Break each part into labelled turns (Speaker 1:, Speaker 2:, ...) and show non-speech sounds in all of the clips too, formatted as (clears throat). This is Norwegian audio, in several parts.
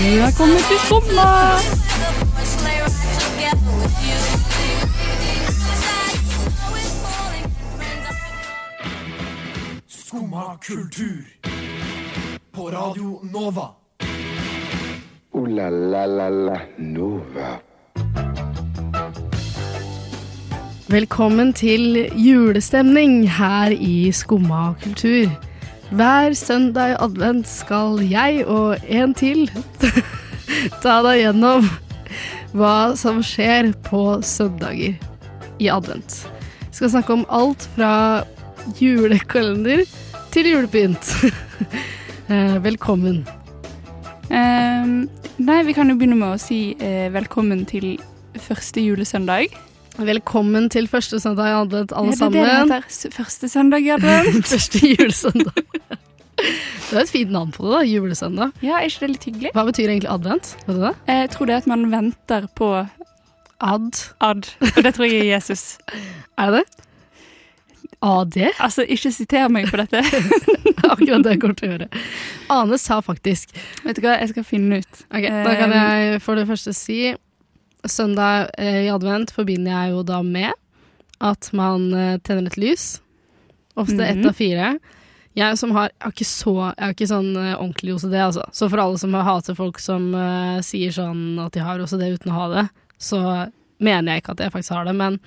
Speaker 1: ut i sommer!
Speaker 2: Skumma kultur. På Radio Nova.
Speaker 3: Ooh la la la la Nova.
Speaker 4: Velkommen til julestemning her i Skumma kultur. Hver søndag i advent skal jeg og en til (laughs) ta deg gjennom hva som skjer på søndager i advent. Vi skal snakke om alt fra julekalender til julepynt. (laughs) Eh, Velkommen.
Speaker 1: Ehm, nei, vi kan jo begynne med å si eh, velkommen til første julesøndag.
Speaker 4: Velkommen til første søndag i advent, alle sammen.
Speaker 1: Er det det det heter? S- Første søndag i
Speaker 4: (laughs)
Speaker 1: advent?
Speaker 4: Første julesøndag. (laughs) Det er et fint navn på det, da. Julesøndag.
Speaker 1: ja, er ikke det litt hyggelig?
Speaker 4: Hva betyr egentlig advent? Vet du det?
Speaker 1: Jeg tror det er at man venter på
Speaker 4: Ad.
Speaker 1: ad, og det tror jeg er Jesus.
Speaker 4: Er det det? AD?
Speaker 1: Altså, ikke siter meg på dette.
Speaker 4: (laughs) Akkurat det jeg kommer til å gjøre. Ane sa faktisk
Speaker 1: Vet du hva, jeg skal finne ut.
Speaker 4: Ok, Da
Speaker 1: Ehm,
Speaker 4: kan jeg for det første si Søndag eh, i advent forbinder jeg jo da med at man eh, tenner et lys. Ofte ett
Speaker 1: Mhm.
Speaker 4: av fire. Jeg som har, jeg har ikke så Jeg har ikke sånn eh, ordentlig OCD, altså. Så for alle som hater folk som eh, sier sånn at de har OCD uten å ha det, så mener jeg ikke at jeg faktisk har det, men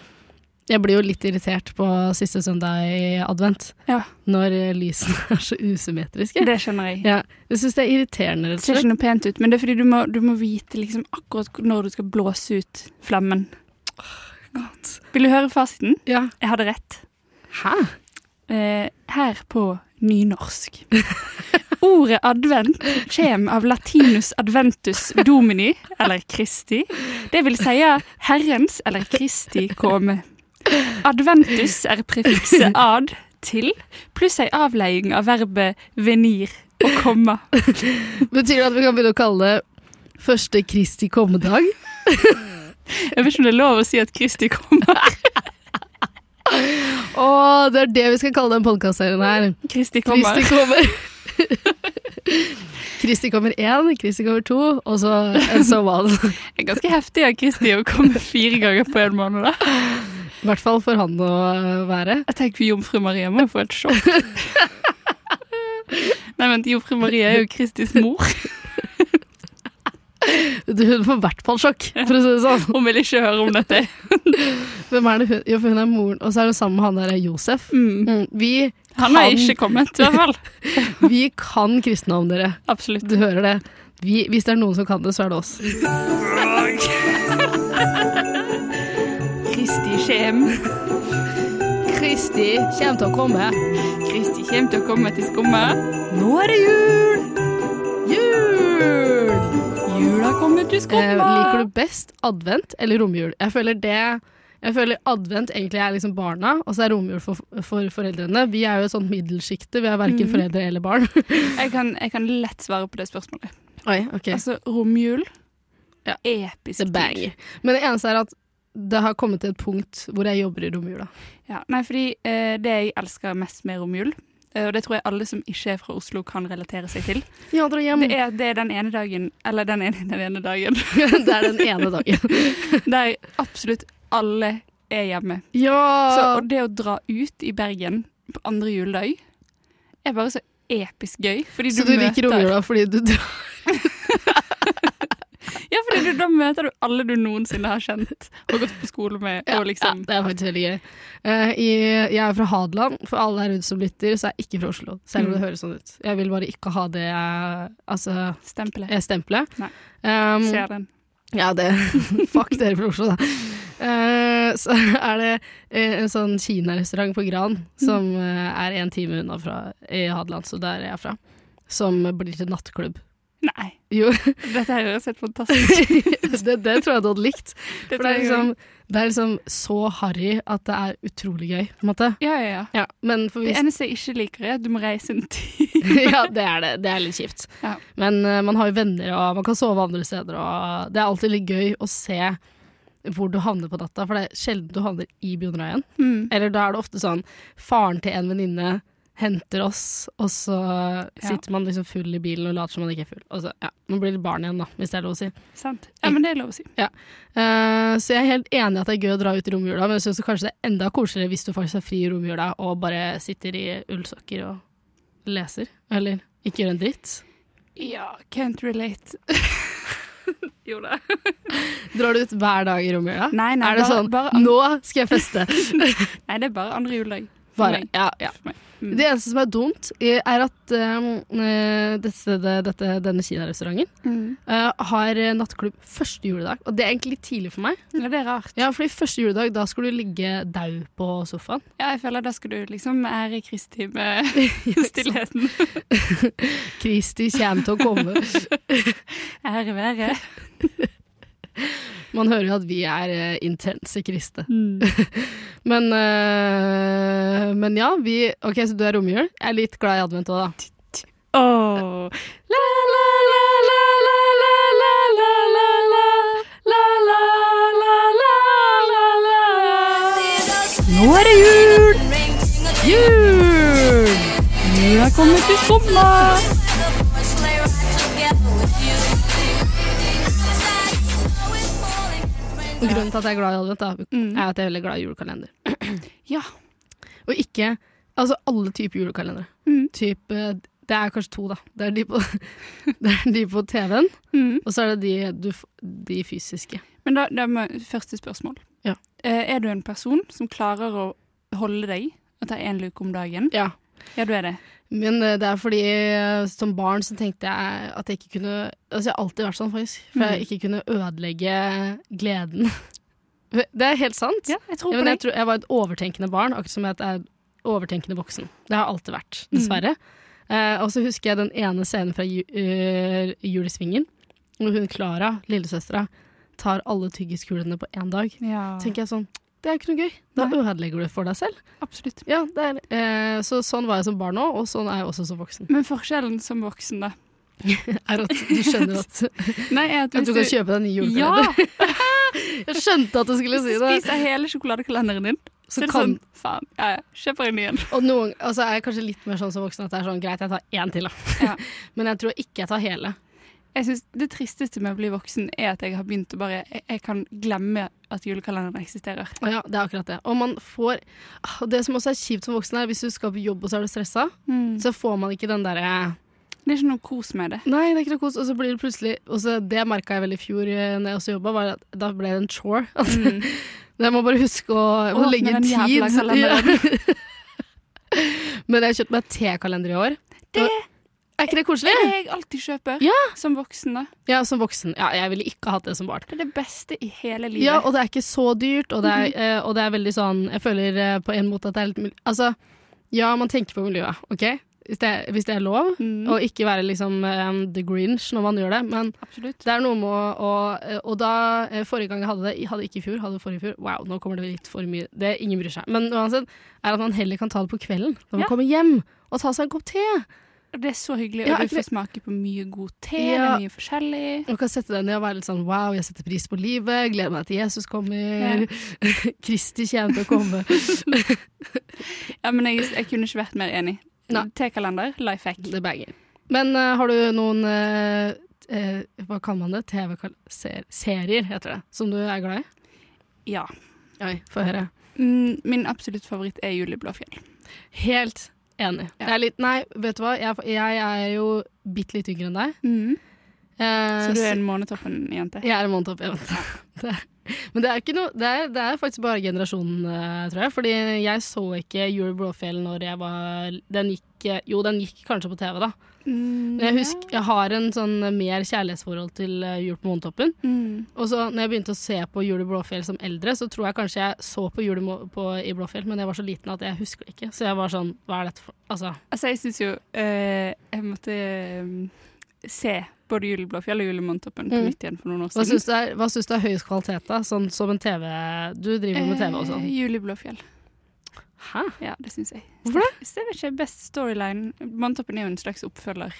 Speaker 4: jeg blir jo litt irritert på siste søndag i advent.
Speaker 1: Ja.
Speaker 4: Når eh, lysene (laughs) er så usymmetriske.
Speaker 1: Det skjønner jeg.
Speaker 4: Ja, jeg syns det er irriterende, rett og
Speaker 1: Det ser sånn
Speaker 4: slett.
Speaker 1: ikke noe pent ut, men det er fordi du må, du må vite liksom akkurat når du skal blåse ut flammen. Vil du høre fasiten?
Speaker 4: Ja.
Speaker 1: Jeg hadde rett.
Speaker 4: Hæ?
Speaker 1: Eh, her på nynorsk. (laughs) Ordet advent kjem av latinus adventus domini, eller Kristi. Det vil seie Herrens eller Kristi komme. Adventus er prefikset ad, til, pluss ei avleiing av verbet venir, å komme.
Speaker 4: Betyr det at vi kan begynne å kalle det første Kristi kommedag?
Speaker 1: Jeg vet ikke om det er lov å si at Kristi kommer.
Speaker 4: Å, det er det vi skal kalle den podkastserien her.
Speaker 1: Kristi kommer.
Speaker 4: Kristi kommer. (laughs) Kristi kommer én, Kristi kommer to, og så en so on.
Speaker 1: Det er ganske heftig av Kristi å komme fire ganger på en måned, da.
Speaker 4: I hvert fall for han å øh, være.
Speaker 1: Jeg tenker Jomfru Marie må jo få et (laughs) sjokk. Nei, vent, Jomfru Marie er jo Kristis mor.
Speaker 4: Hun får i hvert fall sjokk, for å si det sånn.
Speaker 1: Hun vil ikke høre om dette.
Speaker 4: Hvem er det hun? Jo, for hun er moren, og så er hun sammen med han der Josef.
Speaker 1: Mm.
Speaker 4: Mm, vi,
Speaker 1: Han har
Speaker 4: Kan-
Speaker 1: ikke kommet, i hvert fall.
Speaker 4: vi kan kristne om dere.
Speaker 1: Absolutt.
Speaker 4: Du hører det. Vi, hvis det er noen som kan det, så er det oss.
Speaker 1: Kristi kjem.
Speaker 4: Kristi kommer til å komme.
Speaker 1: Kristi kjem til å komme til skummet.
Speaker 4: Nå er det jul! Jul!
Speaker 1: Jula kommer til
Speaker 4: Eh,
Speaker 1: skummet.
Speaker 4: liker du best advent eller romjul? Jeg føler det jeg føler advent egentlig er liksom barna, og så er romjul for, for foreldrene. Vi er jo et sånt middelsjikte, vi er verken foreldre eller barn. (laughs)
Speaker 1: Jeg kan, jeg kan lett svare på det spørsmålet.
Speaker 4: Oi, ok.
Speaker 1: Altså, romjul.
Speaker 4: Ja.
Speaker 1: Episk
Speaker 4: The
Speaker 1: tid.
Speaker 4: bang. Men det eneste er at det har kommet til et punkt hvor jeg jobber i romjula.
Speaker 1: Ja, nei, fordi eh, det jeg elsker mest med romjul, eh, og det tror jeg alle som ikke er fra Oslo kan relatere seg til,
Speaker 4: Ja, dra hjem.
Speaker 1: det er, det er den ene dagen, eller den ene, den ene dagen, (laughs)
Speaker 4: det er den ene dagen.
Speaker 1: der absolutt alle er hjemme.
Speaker 4: (laughs) ja!
Speaker 1: Så, og det å dra ut i Bergen på andre juledag er bare så episk gøy. Fordi
Speaker 4: Så du liker romjula fordi du drar
Speaker 1: Ja, fordi du, da møter du alle du noensinne har kjent og gått på skole med. og liksom,
Speaker 4: ja, det er faktisk veldig gøy. Eh, i, jeg er fra Hadeland. For alle her ute som lytter, så er jeg ikke fra Oslo. Selv om det høres sånn ut. Jeg vil bare ikke ha det eh, altså,
Speaker 1: Stempelet.
Speaker 4: eh, stempelet.
Speaker 1: Nei.
Speaker 4: Um,
Speaker 1: Ser den.
Speaker 4: ja, det (laughs) Fuck dere fra Oslo, da. Eh, så (laughs) er det eh, en sånn kinarestaurant på Gran som
Speaker 1: Mm.
Speaker 4: eh, er en time unna fra i Hadeland, så der er jeg fra. Som blir til nattklubb. (laughs)
Speaker 1: Nei,
Speaker 4: Jo,
Speaker 1: dette her høres helt fantastisk ut.
Speaker 4: det, det tror jeg du hadde likt. (laughs)
Speaker 1: Dette
Speaker 4: For det er
Speaker 1: er jo-
Speaker 4: liksom, det er liksom så harry at det er utrolig gøy, på en måte.
Speaker 1: Ja, ja, ja.
Speaker 4: Ja, men for
Speaker 1: Det
Speaker 4: hvis,
Speaker 1: eneste jeg ikke liker, er at du må reise en tid.
Speaker 4: (laughs) ja, det er det. Det er litt kjipt.
Speaker 1: Ja.
Speaker 4: Men eh, man har jo venner, og man kan sove andre steder, og det er alltid litt gøy å se hvor du havner på natta, for det er sjelden du havner i Bjørnøyen.
Speaker 1: (laughs) Mm.
Speaker 4: Eller da er det ofte sånn faren til en venninne henter oss, og så sitter man liksom full i bilen og later som man ikke er full. Og så, ja, Man blir litt barn igjen, da, hvis det er lov å si.
Speaker 1: Sant? Ja, men det er lov å si.
Speaker 4: Eh, så jeg er helt enig i at det er gøy å dra ut i romjula, men jeg syns kanskje det er enda koseligere hvis du faktisk er fri i romjula og bare sitter i ullsokker og leser. Eller ikke gjør en dritt.
Speaker 1: Ja, can't relate. (laughs) jo da.
Speaker 4: Drar du ut hver dag i romjula?
Speaker 1: Nei, nei,
Speaker 4: er det
Speaker 1: bare-
Speaker 4: sånn
Speaker 1: bare-
Speaker 4: Nå skal jeg feste!
Speaker 1: (laughs) Nei, det er bare andre juledag. For
Speaker 4: Bare,
Speaker 1: meg.
Speaker 4: ja, ja.
Speaker 1: For meg. Mm.
Speaker 4: Det eneste som er dumt, eh, er at eh, dette, dette, denne kinarestauranten
Speaker 1: Mm.
Speaker 4: eh, har eh, nattklubb første juledag. Og det er egentlig litt tidlig for meg.
Speaker 1: Ja, det er rart.
Speaker 4: Ja, fordi første juledag, da skal du ligge dau på sofaen.
Speaker 1: Ja, jeg føler da skal du liksom ære Kristi (laughs) med stillheten.
Speaker 4: Kristi kommer til å komme.
Speaker 1: (laughs) Ære være.
Speaker 4: Man hører jo at vi er eh, intense kristne.
Speaker 1: Mm.
Speaker 4: Men, eh, men ja, vi Ok, så du er romjul. Jeg er litt glad i advent òg, da.
Speaker 1: (laughs) Åh. La, la, la, la, la, la, la, la, la, la. La, la, la, la, la, la. Nå er det jul! Jul! Vi har kommet til sommer!
Speaker 4: Og grunnen til at jeg er glad i advent, da, er at jeg er veldig glad i julekalender.
Speaker 1: Ja.
Speaker 4: Og ikke Altså alle typer julekalendere.
Speaker 1: Mm.
Speaker 4: Typ, eh, det er kanskje to, da. Det er de på, (laughs) det er de på TV-en,
Speaker 1: Mm.
Speaker 4: og så er det de, du, f- de fysiske.
Speaker 1: Men da, da må første spørsmål.
Speaker 4: Ja.
Speaker 1: Eh, Er du en person som klarer å holde deg og ta én luke om dagen?
Speaker 4: Ja.
Speaker 1: Ja, du er det.
Speaker 4: Men eh, det er fordi eh, som barn så tenkte jeg at jeg ikke kunne Altså jeg har alltid vært sånn, faktisk. For jeg
Speaker 1: Mhm.
Speaker 4: ikke kunne ødelegge gleden. Det er helt sant.
Speaker 1: Ja, jeg tror
Speaker 4: Ja,
Speaker 1: på
Speaker 4: men jeg,
Speaker 1: deg.
Speaker 4: tror, jeg var et overtenkende barn, akkurat som jeg er et overtenkende voksen. Det har jeg alltid
Speaker 1: Mm.
Speaker 4: vært, dessverre. Eh, og så husker jeg den ene scenen fra ju, eh, Jul i Svingen, hvor hun Klara, lillesøstera, tar alle tyggiskulene på én dag.
Speaker 1: Ja,
Speaker 4: Så tenker jeg sånn Det er jo ikke noe gøy. Da
Speaker 1: Nei.
Speaker 4: ødelegger du for deg selv.
Speaker 1: absolutt.
Speaker 4: Ja, det er, eh, så sånn var jeg som barn òg, og sånn er jeg også som voksen.
Speaker 1: Men forskjellen som voksen, da?
Speaker 4: (laughs) Er at du skjønner (laughs) at,
Speaker 1: Nei, er at
Speaker 4: at du
Speaker 1: hvis
Speaker 4: kan kjøpe deg en ny
Speaker 1: Ja!
Speaker 4: julekalender. (laughs) Jeg skjønte at du skulle
Speaker 1: Hvis
Speaker 4: si
Speaker 1: du
Speaker 4: det.
Speaker 1: spiser hele sjokoladekalenderen din, så,
Speaker 4: Så
Speaker 1: er det
Speaker 4: kan,
Speaker 1: sånn Faen, ja, ja, kjøper en ny en.
Speaker 4: og noen, altså er jeg kanskje litt mer sånn som voksen at det er sånn greit, jeg tar én til, da.
Speaker 1: Ja.
Speaker 4: (laughs) Men jeg tror ikke jeg tar hele.
Speaker 1: Jeg synes Det tristeste med å bli voksen er at jeg har begynt å bare Jeg, jeg kan glemme at julekalenderen eksisterer.
Speaker 4: Og ja, det er akkurat det. Og man får og Det som også er kjipt som voksen, er hvis du skal på jobb og så er du stressa,
Speaker 1: Mm.
Speaker 4: så får man ikke den eh, derre
Speaker 1: Det er ikke noe kos med det.
Speaker 4: Nei, det er ikke noe kos. Og så blir det plutselig Og så det merka jeg vel i fjor eh, når jeg også jobba, var at da ble det en chore. (laughs) At jeg må bare huske å, jeg må
Speaker 1: Mm. Åpne
Speaker 4: legge
Speaker 1: den
Speaker 4: inn
Speaker 1: jævla
Speaker 4: tid.
Speaker 1: kalenderen.
Speaker 4: (laughs) Men jeg har kjøpt meg tekalender i år.
Speaker 1: Det-
Speaker 4: Og- er ikke det koselig?
Speaker 1: Det er det jeg alltid kjøper som voksen. da.
Speaker 4: Ja, som voksen. Ja, jeg ville ikke hatt det som barn.
Speaker 1: Det er det beste i hele livet. Mm-hmm.
Speaker 4: Ja, og det er ikke så dyrt, og det er, eh, og det er veldig sånn Jeg føler eh, på en måte at det er litt mil- Altså, ja, man tenker på miljøet, OK? Hvis det, er- hvis det er lov.
Speaker 1: Mm.
Speaker 4: Og ikke være liksom eh, the grinch når man gjør det, men
Speaker 1: Absolutt.
Speaker 4: det er noe med å Og, eh, og da eh, Forrige gang jeg hadde det, jeg hadde ikke i fjor, hadde det forrige i fjor. Wow, nå kommer det litt for mye. Det Ingen bryr seg. Men uansett er at man heller kan ta det på kvelden, når man
Speaker 1: Ja.
Speaker 4: kommer hjem, og ta seg en kopp te.
Speaker 1: Det er så hyggelig,
Speaker 4: Ja,
Speaker 1: og
Speaker 4: er
Speaker 1: du
Speaker 4: ikke
Speaker 1: får smake på mye god te, det
Speaker 4: Ja.
Speaker 1: er mye forskjellig.
Speaker 4: Man kan sette deg ned og være litt sånn wow, jeg setter pris på livet, gleder meg til Jesus kommer,
Speaker 1: Ja.
Speaker 4: (laughs) Kristi kommer til å komme.
Speaker 1: Ja, men jeg, jeg kunne ikke vært mer enig.
Speaker 4: Nei.
Speaker 1: Tekalender, life hack.
Speaker 4: Det banger. Men eh, har du noen eh, eh, Hva kaller man det? TV-serier, heter det. Som du er glad i?
Speaker 1: Ja.
Speaker 4: Oi, få høre.
Speaker 1: Mm, Min absolutt favoritt er Julie Blåfjell.
Speaker 4: Helt enig.
Speaker 1: Ja.
Speaker 4: Det er litt Nei, vet du hva? Jeg, jeg er jo bitte litt yngre enn deg. Eh,
Speaker 1: Så du er en månetoppen-jente.
Speaker 4: Jeg er en måned opp, jeg vet (laughs) det. Men det er, ikke noe, det, er, det er faktisk bare generasjonen, eh, tror jeg. Fordi jeg så ikke Jul Blåfjell når jeg var den gikk, eh, Jo, den gikk kanskje på TV, da.
Speaker 1: Mm,
Speaker 4: Men jeg, husker, jeg har en sånn mer kjærlighetsforhold til eh, Jul på Månetoppen.
Speaker 1: ja. Mm.
Speaker 4: Og så når jeg begynte å se på Jul i Blåfjell som eldre, så tror jeg kanskje jeg så på Jul i Må- på, i Blåfjell, men jeg var så liten at jeg husker det ikke. Så jeg var sånn, hva er dette for Altså,
Speaker 1: Altså, jeg syns jo eh, Jeg måtte eh, se både Julie Blåfjell og Julie Månetoppen på
Speaker 4: Mm.
Speaker 1: nytt igjen for noen år
Speaker 4: hva
Speaker 1: siden.
Speaker 4: syns du, er- hva syns du er høyest kvalitet, da? Sånn som en TV Du driver med TV og sånn.
Speaker 1: Eh, Julie Blåfjell.
Speaker 4: Hæ?
Speaker 1: Ja, det syns jeg.
Speaker 4: Hvorfor
Speaker 1: det? Jeg vet ikke. Best storyline. Månetoppen er jo en slags oppfølger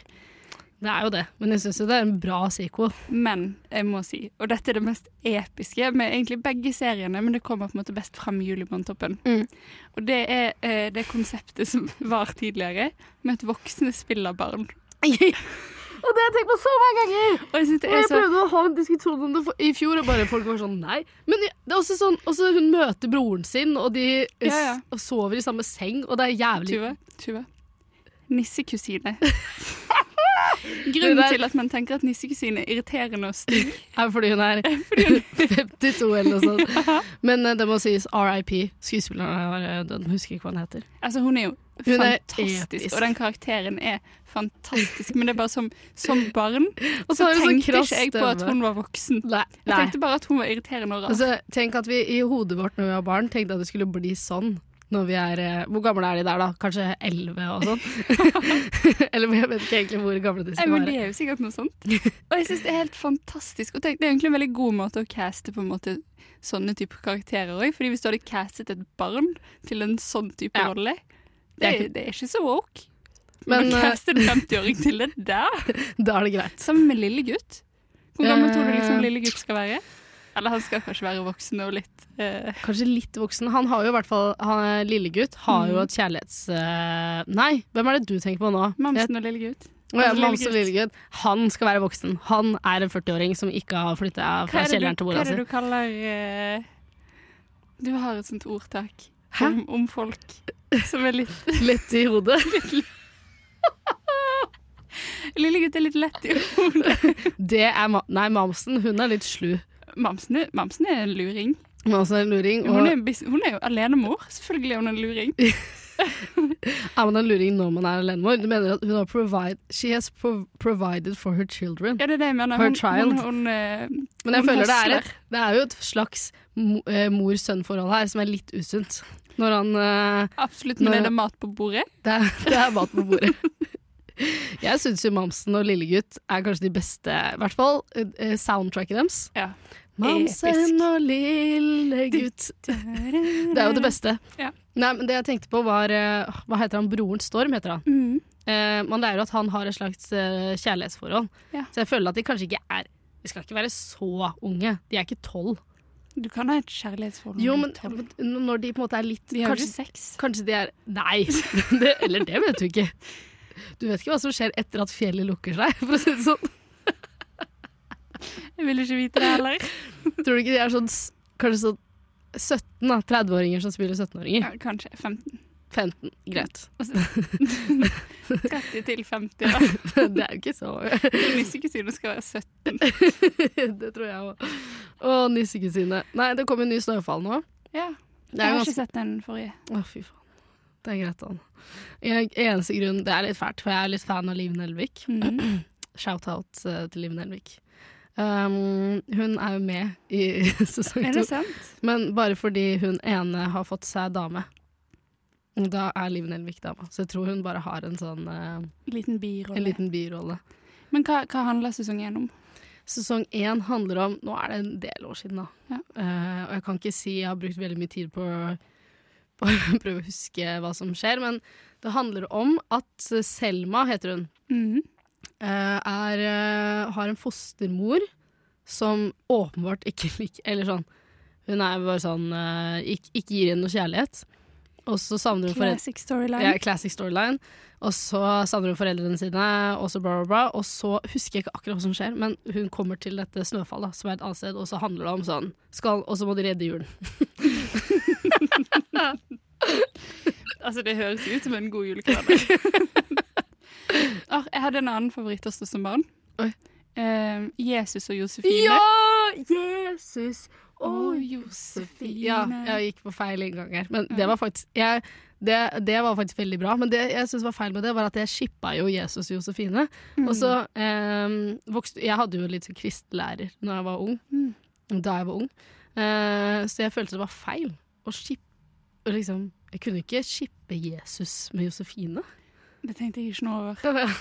Speaker 4: Det er jo det, men jeg syns jo det er en bra sequel.
Speaker 1: Men jeg må si, og dette er det mest episke med egentlig begge seriene, men det kommer på en måte best fram i Julebåndtoppen.
Speaker 4: Mm.
Speaker 1: Og det er eh, det konseptet som (laughs) var tidligere, med at voksne spiller barn.
Speaker 4: Og det har jeg tenkt på så mange ganger!
Speaker 1: Og jeg synes det
Speaker 4: Og
Speaker 1: er
Speaker 4: jeg
Speaker 1: så
Speaker 4: prøvde å ha en diskusjon om det for, i fjor, og bare folk var sånn nei. Men ja, det er også sånn også hun møter broren sin, og de s-
Speaker 1: Ja, ja.
Speaker 4: og sover i samme seng, og det er jævlig
Speaker 1: Tuva, Tuva.
Speaker 4: (laughs)
Speaker 1: Nissekusine. Grunnen
Speaker 4: Det der-
Speaker 1: til at man tenker at nissekusine er irriterende og stygg
Speaker 4: Er det (laughs) fordi hun er 52 eller noe sånt. (laughs) Men eh, det må sies RIP. Skuespilleren er eh, død, husker ikke hva han heter.
Speaker 1: Altså, hun er jo
Speaker 4: Hun er
Speaker 1: fantastisk,
Speaker 4: episk.
Speaker 1: og den karakteren er fantastisk, men det er bare som, som barn
Speaker 4: Og
Speaker 1: så
Speaker 4: så har hun sånn
Speaker 1: tenkte
Speaker 4: krass
Speaker 1: ikke jeg på at
Speaker 4: stemme.
Speaker 1: hun var voksen.
Speaker 4: Nei.
Speaker 1: Jeg tenkte bare at hun var irriterende og rar.
Speaker 4: Altså, tenk at vi i hodet vårt når vi var barn, tenkte at det skulle bli sånn når vi er eh, Hvor gamle er de der, da? Kanskje 11 og sånn? (laughs) Eller jeg vet ikke egentlig hvor gamle de
Speaker 1: Nei,
Speaker 4: skal
Speaker 1: men Det
Speaker 4: være.
Speaker 1: er jo sikkert noe sånt. Og jeg syns det er helt fantastisk. Og tenk, det er egentlig en veldig god måte å caste på en måte sånne type karakterer òg. Fordi hvis du hadde castet et barn til en sånn type
Speaker 4: Ja.
Speaker 1: rolle,
Speaker 4: Det
Speaker 1: det,
Speaker 4: er
Speaker 1: det er ikke så woke. Men
Speaker 4: Men
Speaker 1: å
Speaker 4: eh,
Speaker 1: caste en 50-åring til det der,
Speaker 4: da er det greit.
Speaker 1: sammen med lille gutt Hvor gammel tror du liksom
Speaker 4: Eh.
Speaker 1: lille gutt skal være? Eller han skal kanskje være voksen og litt eh,
Speaker 4: Kanskje litt voksen. Han har jo i hvert fall han, eh, Lillegutt har
Speaker 1: Mm.
Speaker 4: jo et kjærlighets... eh, nei, hvem er det du tenker på nå?
Speaker 1: Mamsen og lille gutt.
Speaker 4: Jeg, Å ja,
Speaker 1: og
Speaker 4: Mamsen og Lillegutt.
Speaker 1: Lillegutt.
Speaker 4: Han skal være voksen. Han er en 40-åring som ikke har flytta
Speaker 1: Hva
Speaker 4: fra
Speaker 1: er det
Speaker 4: kjelleren
Speaker 1: du,
Speaker 4: til
Speaker 1: hva
Speaker 4: mora
Speaker 1: er det
Speaker 4: si.
Speaker 1: du kaller eh, Du har et sånt ordtak
Speaker 4: Hæ?
Speaker 1: om, om folk som er litt
Speaker 4: Lett i hodet.
Speaker 1: Lillegutt er litt lett i hodet.
Speaker 4: Det er ma Nei, Mamsen, hun er litt slu.
Speaker 1: Mamsen er, mamsen er en luring.
Speaker 4: Mamsen er en luring. Og
Speaker 1: Hun er, bis- hun er jo alenemor. Selvfølgelig er hun en luring.
Speaker 4: Er man en luring når man er alenemor? Du mener at hun har provide, she has prov provided for her children.
Speaker 1: Ja, det er det jeg mener.
Speaker 4: Her
Speaker 1: Hun,
Speaker 4: child.
Speaker 1: hun, hun, eh,
Speaker 4: Men jeg
Speaker 1: hun
Speaker 4: føler det er,
Speaker 1: hustler.
Speaker 4: et, det er jo et slags mo- eh, mor-sønn-forhold her som er litt usunt. Når han eh,
Speaker 1: Absolutt, men
Speaker 4: Når-
Speaker 1: er det mat på bordet?
Speaker 4: det, er, det er mat på bordet. (laughs) Jeg syns jo Mamsen og Lillegutt er kanskje de beste, i hvert fall eh, soundtracket deres.
Speaker 1: Ja.
Speaker 4: Mamsen
Speaker 1: Episk.
Speaker 4: og Lillegutt. Det er jo det beste.
Speaker 1: Ja.
Speaker 4: Nei, men det jeg tenkte på var eh, Hva heter han? Broren Storm heter han.
Speaker 1: Mm.
Speaker 4: Eh, man lærer jo at han har et slags eh, kjærlighetsforhold.
Speaker 1: Ja.
Speaker 4: Så jeg føler at de kanskje ikke er De skal ikke være så unge. De er ikke tolv.
Speaker 1: Du kan ha et kjærlighetsforhold.
Speaker 4: Jo,
Speaker 1: med
Speaker 4: men
Speaker 1: tolv.
Speaker 4: når de på en måte er litt
Speaker 1: De har jo
Speaker 4: kanskje,
Speaker 1: ikke sex.
Speaker 4: kanskje de er
Speaker 1: (laughs)
Speaker 4: Nei! Det, eller det vet du ikke. Du vet ikke hva som skjer etter at fjellet lukker seg, for å si det sånn.
Speaker 1: Jeg vil ikke vite det heller.
Speaker 4: Tror du ikke de er sånn s- kanskje sånn 17, da. 30-åringer som spiller 17-åringer.
Speaker 1: Ja, kanskje 15.
Speaker 4: 15. Greit. (laughs)
Speaker 1: 30 til 50, da.
Speaker 4: Det er jo ikke så (laughs)
Speaker 1: Nissekusine skal være 70.
Speaker 4: Det tror jeg òg. Å, nissekusine. Nei, det kom en ny snøfall nå.
Speaker 1: Ja.
Speaker 4: Det
Speaker 1: Jeg
Speaker 4: er
Speaker 1: har
Speaker 4: jo
Speaker 1: ikke sett den forrige.
Speaker 4: Å, fy faen. Det er greit, han. Jeg, eneste grunn Det er litt fælt, for jeg er litt fan av Liv Nelvik.
Speaker 1: (clears throat) Mm.
Speaker 4: Shout-out eh, til Liv Nelvik. Um, hun er jo med i (laughs) sesong
Speaker 1: Er
Speaker 4: to,
Speaker 1: det sant?
Speaker 4: men bare fordi hun ene har fått seg dame. Da er Liv Nelvik dama, så jeg tror hun bare har en sånn eh,
Speaker 1: Liten
Speaker 4: En
Speaker 1: birolle.
Speaker 4: liten birolle.
Speaker 1: Men hva, hva handler sesong én om?
Speaker 4: Sesong én handler om Nå er det en del år siden, da.
Speaker 1: Ja.
Speaker 4: Eh, og jeg kan ikke si jeg har brukt veldig mye tid på, på (laughs) å prøve å huske hva som skjer, men det handler om at Selma, heter hun,
Speaker 1: Mhm.
Speaker 4: eh, er, eh, har en fostermor som åpenbart ikke (laughs) liker Eller sånn Hun er bare sånn eh, ikke, ikke gir henne noe kjærlighet. Og så savner hun foreldrene
Speaker 1: Classic storyline.
Speaker 4: ja, classic storyline. Og så savner hun foreldrene sine, og så bla, bla, bla. Og så husker jeg ikke akkurat hva som skjer, men hun kommer til dette snøfallet, som er et annet sted, og så handler det om sånn skal, Og så må de redde julen.
Speaker 1: Altså, det høres ut som en god (laughs) julekalender. Or, Ah, jeg hadde en annen favoritt også som barn.
Speaker 4: Oi.
Speaker 1: Eh, Jesus og Josefine.
Speaker 4: Jesus
Speaker 1: Å, Josefine.
Speaker 4: Ja, jeg gikk på feil inngang her. Men det var faktisk jeg, det, det var faktisk veldig bra. Men det jeg syns var feil med det, var at jeg shippa jo Jesus og Josefine. Og så eh, vokste Jeg hadde jo litt sånn kristelærer når jeg var ung.
Speaker 1: Mm.
Speaker 4: Da jeg var ung. Eh, så jeg følte det var feil å shippe liksom, Jeg kunne ikke shippe Jesus med Josefine.
Speaker 1: Det tenkte jeg ikke noe over.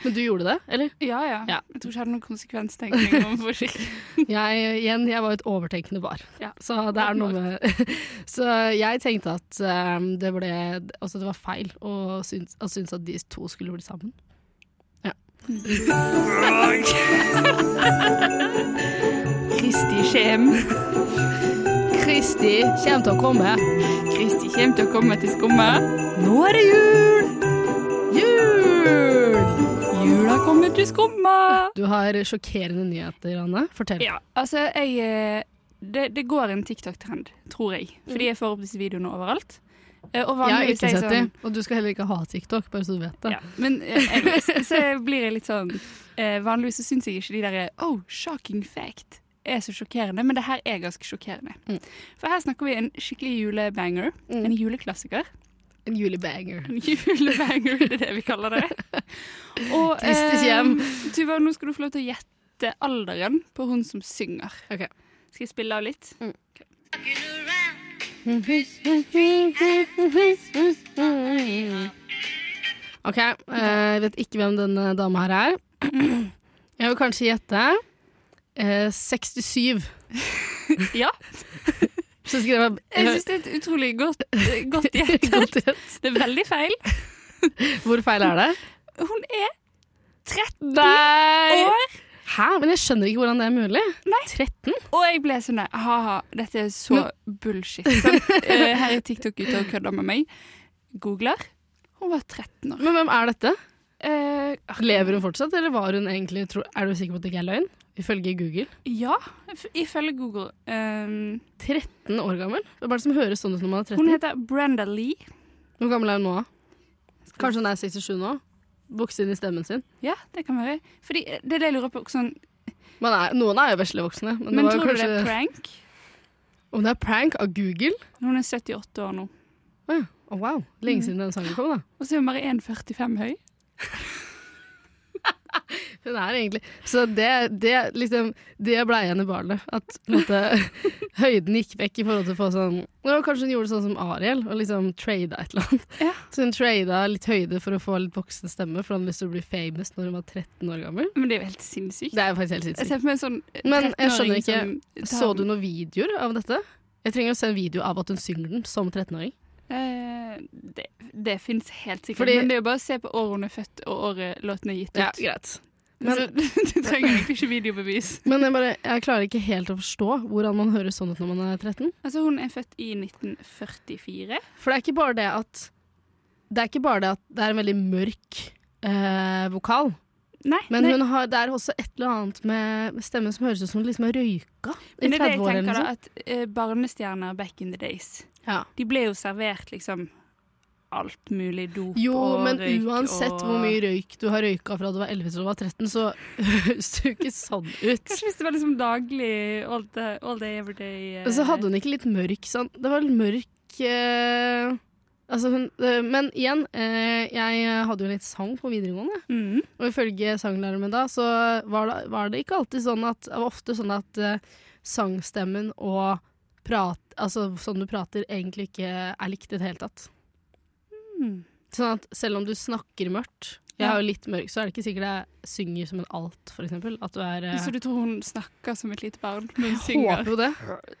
Speaker 4: Men du gjorde det, eller?
Speaker 1: Ja, ja.
Speaker 4: Ja.
Speaker 1: Jeg tror ikke jeg hadde noen (laughs) konsekvenstenkning om forsikring.
Speaker 4: Jeg, igjen, jeg var et overtenkende bar.
Speaker 1: Ja.
Speaker 4: Så det er noe med (laughs) Så jeg tenkte at um, det ble Altså, det var feil å synes, å synes at de to skulle bli sammen.
Speaker 1: Kristi kjem.
Speaker 4: Kristi kommer til å komme.
Speaker 1: Kristi kjem til å komme til skumma.
Speaker 4: Nå er det jul! Jul!
Speaker 1: Jula kommer til skumma.
Speaker 4: Du har sjokkerende nyheter, Anne. Fortell.
Speaker 1: Ja, altså jeg eh, Det, det går en TikTok-trend, tror jeg. Fordi jeg får opp disse videoene overalt. Eh, Og
Speaker 4: Jeg har
Speaker 1: vanligvis
Speaker 4: ikke
Speaker 1: er jeg
Speaker 4: sett
Speaker 1: sånn-
Speaker 4: dem, og du skal heller ikke ha TikTok, bare så du vet det.
Speaker 1: Ja, men eh, anyway, så- så blir jeg litt sånn eh, Vanligvis så syns jeg ikke de der Oh, shocking fact er så sjokkerende, men det her er ganske sjokkerende.
Speaker 4: Mm.
Speaker 1: For her snakker vi en skikkelig julebanger.
Speaker 4: Mm.
Speaker 1: En juleklassiker.
Speaker 4: En julebanger.
Speaker 1: (laughs) En julebanger, det er det vi kaller
Speaker 4: (laughs)
Speaker 1: det. Og
Speaker 4: Triste hjem.
Speaker 1: eh, Tuva, nå skal du få lov til å gjette alderen på hun som synger.
Speaker 4: Ok. Mm.
Speaker 1: Skal jeg spille av litt?
Speaker 4: Ok, eh, jeg vet ikke hvem denne dama her er. (clears throat) Jeg vil kanskje gjette eh, 67.
Speaker 1: Ja.
Speaker 4: Så skrev jeg,
Speaker 1: Jeg
Speaker 4: (laughs)
Speaker 1: syns det er et utrolig godt, eh, godt gjett.
Speaker 4: Godt gjett.
Speaker 1: Det er veldig feil.
Speaker 4: Hvor feil er det?
Speaker 1: Hun er 13
Speaker 4: Nei!
Speaker 1: år.
Speaker 4: Hæ? Men jeg skjønner ikke hvordan det er mulig. 13?
Speaker 1: Og jeg ble sånn der, ha-ha, dette er så bullshit. sant? Eh, Her er TikTok ute og kødder med meg. Googler. Hun var 13 år.
Speaker 4: Men hvem er dette?
Speaker 1: Eh,
Speaker 4: Lever hun fortsatt, eller var hun egentlig tro, Er du sikker på at det ikke er løgn? Ifølge Google.
Speaker 1: ja, if- ifølge Google. Eh,
Speaker 4: 13 år gammel? Hvem er det som høres sånn ut når man er 13?
Speaker 1: hun heter Brenda Lee.
Speaker 4: Hvor gammel er hun nå? da? Kanskje hun er 67 nå? Vokst inn i stemmen sin?
Speaker 1: Ja, det kan være. Fordi eh, det er det jeg lurer på. Sånn,
Speaker 4: Man er, noen er jo veslevoksne. Men, det
Speaker 1: men
Speaker 4: var jo
Speaker 1: tror du det
Speaker 4: kanskje,
Speaker 1: er prank?
Speaker 4: Om det er prank av Google?
Speaker 1: Hun er 78 år nå.
Speaker 4: Å ja. Å, wow. Lenge
Speaker 1: Mm.
Speaker 4: siden den sangen kom, da.
Speaker 1: Og så er hun bare 1,45 høy.
Speaker 4: Hun er egentlig Så det, det, liksom, det ble igjen i barnet. At på en måte, (laughs) høyden gikk vekk i forhold til å få sånn Nå, Kanskje hun gjorde sånn som Ariel, og liksom trada et eller annet.
Speaker 1: Ja.
Speaker 4: Så hun trada litt høyde for å få litt voksen stemme, for hun hadde lyst til å bli famous når hun var 13 år gammel.
Speaker 1: Men det er jo helt sinnssykt.
Speaker 4: Det er jo faktisk helt
Speaker 1: Jeg
Speaker 4: sinnssykt.
Speaker 1: ser for meg en sånn eh,
Speaker 4: Men jeg skjønner
Speaker 1: 13-åring
Speaker 4: ikke,
Speaker 1: som tar-
Speaker 4: Så du noen videoer av dette? Jeg trenger å se en video av at hun synger den som 13-åring.
Speaker 1: Eh, det det fins helt sikkert.
Speaker 4: Fordi-
Speaker 1: men det er jo bare å se på året hun er født og året låten er gitt ut.
Speaker 4: greit. Men-
Speaker 1: Så (laughs) du trenger egentlig ikke videobevis.
Speaker 4: Men jeg, bare, jeg klarer ikke helt å forstå hvordan man høres sånn ut når man er 13.
Speaker 1: Altså, hun er født i 1944.
Speaker 4: For det er ikke bare det at Det er ikke bare det at det er en veldig mørk eh, vokal.
Speaker 1: Nei,
Speaker 4: Men
Speaker 1: nei,
Speaker 4: hun har, det er også et eller annet med med stemmen som høres ut som hun liksom har røyka i
Speaker 1: men det er det
Speaker 4: 30 år.
Speaker 1: jeg
Speaker 4: Eller
Speaker 1: tenker,
Speaker 4: noe
Speaker 1: da.
Speaker 4: sånt.
Speaker 1: At eh, barnestjerner back in the days,
Speaker 4: Ja.
Speaker 1: de ble jo servert liksom alt mulig dop
Speaker 4: Jo,
Speaker 1: og
Speaker 4: men
Speaker 1: røyk
Speaker 4: uansett
Speaker 1: og
Speaker 4: hvor mye røyk du har røyka fra du var 11 til du var 13, så (laughs) høres du ikke sånn ut.
Speaker 1: Kanskje hvis det var liksom daglig, all day, all day every day eh,
Speaker 4: Og så hadde hun ikke litt mørk sånn Det var litt mørk eh, Altså hun eh, Men igjen, eh, jeg hadde jo litt sang på videregående.
Speaker 1: Mhm.
Speaker 4: Og ifølge sanglæreren min da, så var det, var det ikke alltid sånn at Det var ofte sånn at eh, sangstemmen og prat, altså sånn du prater, egentlig ikke er likt i det hele tatt.
Speaker 1: Mm.
Speaker 4: Sånn at selv om du snakker mørkt Jeg er jo litt mørk, så er det ikke sikkert jeg synger som en alt, for eksempel. At du er eh,
Speaker 1: Så du tror hun snakker som et lite barn, men hun synger?
Speaker 4: Håper jo det.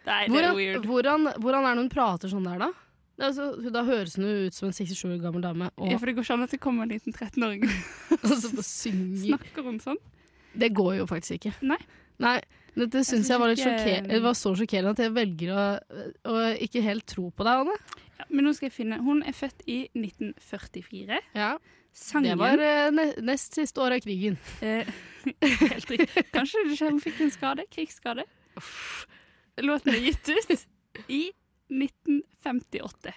Speaker 1: Nei, det er
Speaker 4: Hvordan,
Speaker 1: weird.
Speaker 4: hvordan, hvordan er det hun prater sånn der, da? Det er Altså, da høres hun jo ut som en 67 år gammel dame,
Speaker 1: Ja,
Speaker 4: og,
Speaker 1: for det går ikke an at det kommer en liten 13-åring og
Speaker 4: og (laughs) så synger
Speaker 1: snakker om sånn.
Speaker 4: Det går jo faktisk ikke.
Speaker 1: Nei.
Speaker 4: Nei dette syns
Speaker 1: synes
Speaker 4: jeg var litt
Speaker 1: ikke-
Speaker 4: sjokker- Det var så sjokkerende at jeg velger å, å ikke helt tro på deg, Anne.
Speaker 1: Ja, men nå skal jeg finne Hun er født i 1944.
Speaker 4: Ja, det
Speaker 1: Sangen
Speaker 4: var eh, ne- nest siste år av krigen.
Speaker 1: eh, (laughs) Helt riktig. Kanskje det skjer hun fikk en skade? Krigsskade? Låten er gitt ut i 1958.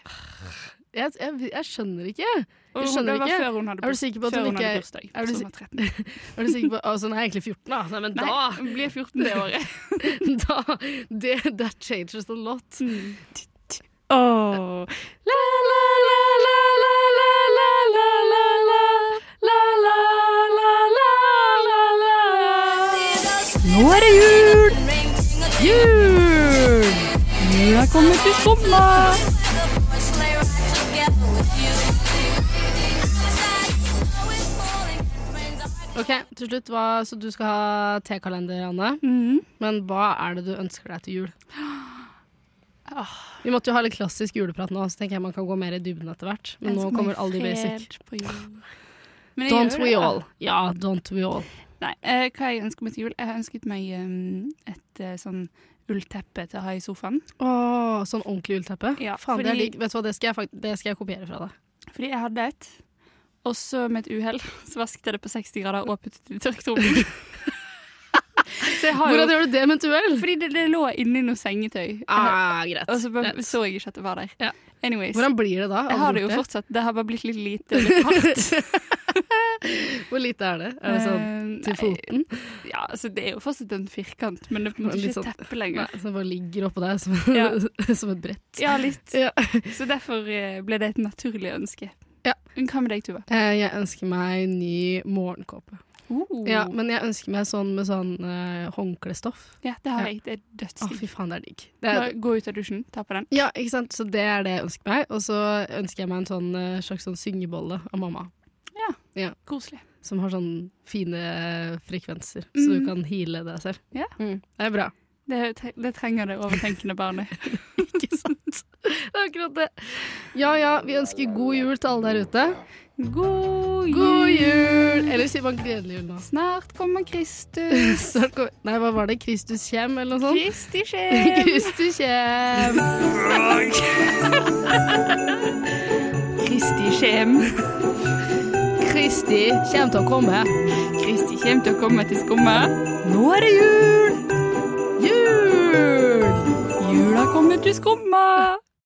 Speaker 4: Jeg, jeg, jeg skjønner ikke.
Speaker 1: Og
Speaker 4: Jeg
Speaker 1: hun-
Speaker 4: skjønner
Speaker 1: det var
Speaker 4: ikke.
Speaker 1: før hun
Speaker 4: Er
Speaker 1: hadde
Speaker 4: du
Speaker 1: burs-
Speaker 4: sikker på at
Speaker 1: før
Speaker 4: hun ikke
Speaker 1: hadde
Speaker 4: er-
Speaker 1: bursdag.
Speaker 4: er du
Speaker 1: så hun
Speaker 4: sik-
Speaker 1: var
Speaker 4: (laughs)
Speaker 1: 13.
Speaker 4: Er du sikker på Altså, hun er egentlig 14, da. Nei, men
Speaker 1: Nei, hun blir 14 det året.
Speaker 4: (laughs)
Speaker 1: Mm.
Speaker 4: da, da det, That changes a lot.
Speaker 1: Åh. La, la, la, la, la, la, la, la, la, la. La, la, la, la, la, la.
Speaker 4: Nå er det jul! Jul!
Speaker 1: Jula kommer til skumma!
Speaker 4: OK, til slutt, hva, så du skal ha tekalender, Anne.
Speaker 1: Mm-hmm.
Speaker 4: Men hva er det du ønsker deg til jul? Vi måtte jo ha litt klassisk juleprat nå, så tenker jeg man kan gå mer i dybden etter hvert. Men nå kommer alle de basic.
Speaker 1: Men jeg
Speaker 4: Don't
Speaker 1: gjør
Speaker 4: we
Speaker 1: det.
Speaker 4: all. Ja, don't we all.
Speaker 1: Nei, eh, hva jeg ønsker meg til jul? Jeg har ønsket meg em, et eh, sånn ullteppe til å ha i sofaen.
Speaker 4: Åh, sånn ordentlig ullteppe.
Speaker 1: Ja,
Speaker 4: Faen, det er
Speaker 1: fordi-
Speaker 4: digg. Vet du hva, det skal jeg, fakt- det skal jeg kopiere fra deg.
Speaker 1: Fordi jeg hadde et, og så med et uhell (laughs) så vasket jeg det på 60 grader og puttet det i
Speaker 4: (laughs)
Speaker 1: tørketrommelen. så jeg har jo
Speaker 4: Hvordan gjør du det med et uhell?
Speaker 1: Fordi det, det lå inni noe sengetøy.
Speaker 4: Ah, greit.
Speaker 1: og så bare
Speaker 4: greit.
Speaker 1: så jeg ikke at det var der.
Speaker 4: Ja.
Speaker 1: Anyways.
Speaker 4: Hvordan blir det da?
Speaker 1: jeg har det
Speaker 4: Aldri
Speaker 1: jo
Speaker 4: gjort
Speaker 1: fortsatt. Det har bare blitt litt lite og litt hardt.
Speaker 4: Hvor lite er det?
Speaker 1: (laughs)
Speaker 4: Er det sånn
Speaker 1: Eh,
Speaker 4: til foten?
Speaker 1: nei, Ja, altså det er jo fortsatt en firkant, men det er på en måte
Speaker 4: Litt
Speaker 1: ikke
Speaker 4: sånn-
Speaker 1: et teppe lenger.
Speaker 4: Nei, så det bare ligger oppå deg som, (laughs) som et brett.
Speaker 1: Ja, litt.
Speaker 4: Ja.
Speaker 1: Så derfor eh, ble det et naturlig ønske.
Speaker 4: Ja.
Speaker 1: Men hva med deg, Tuva?
Speaker 4: Eh, Jeg ønsker meg ny morgenkåpe. Ja,
Speaker 1: men,
Speaker 4: men jeg ønsker meg sånn med sånn eh, håndklestoff.
Speaker 1: ja det har
Speaker 4: Ja.
Speaker 1: jeg. Det er
Speaker 4: Å,
Speaker 1: dødsdigg.
Speaker 4: fy faen, det er digg. Det er,
Speaker 1: Bare Gå ut av dusjen, ta på den.
Speaker 4: ja, ikke sant? Så det er det jeg ønsker meg. Og så ønsker jeg meg en sånn, eh, slags sånn syngebolle av mamma.
Speaker 1: Koselig.
Speaker 4: Som har sånn fine eh, frekvenser, så du
Speaker 1: Mm.
Speaker 4: kan heale deg selv.
Speaker 1: Ja.
Speaker 4: Mm, det er bra. (laughs)
Speaker 1: Det, tre- det trenger det overtenkende (laughs) barnet.
Speaker 4: Ikke sant? Det er akkurat det. Ja ja, vi ønsker god jul til alle der ute.
Speaker 1: God jul!
Speaker 4: God jul! Eller sier man gledelig jul nå?
Speaker 1: (laughs) Snart kommer Kristus. (laughs)
Speaker 4: Snart kommer- Nei, hva var det? Kristus kjem, eller
Speaker 1: Sånn.
Speaker 4: noe sånt?
Speaker 1: Kristi sjel.
Speaker 4: (laughs) Kristus kjem!
Speaker 1: (laughs) Kristi kjem.
Speaker 4: Kristi kjem til å komme.
Speaker 1: Kristi kjem til å komme til skumma.
Speaker 4: Nå er det jul! Jul!
Speaker 1: Jula kommer til skumma.